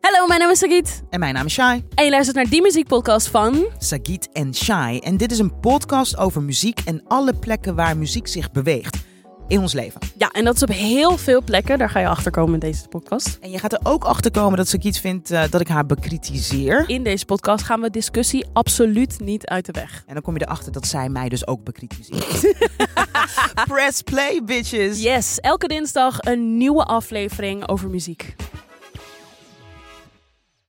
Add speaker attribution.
Speaker 1: Hallo, mijn naam is Sagit
Speaker 2: En mijn naam is Shai.
Speaker 1: en je luistert naar die muziekpodcast van...
Speaker 2: Sagit en Shai. En dit is een podcast over muziek en alle plekken waar muziek zich beweegt in ons leven.
Speaker 1: Ja, en dat is op heel veel plekken. Daar ga je achter komen in deze podcast.
Speaker 2: En je gaat er ook achter komen dat Sagit vindt eh, dat ik haar bekritiseer.
Speaker 1: In deze podcast gaan we discussie absoluut niet uit de weg.
Speaker 2: En dan kom je erachter dat zij mij dus ook bekritiseert. Press play, bitches.
Speaker 1: Yes, elke dinsdag een nieuwe aflevering over muziek.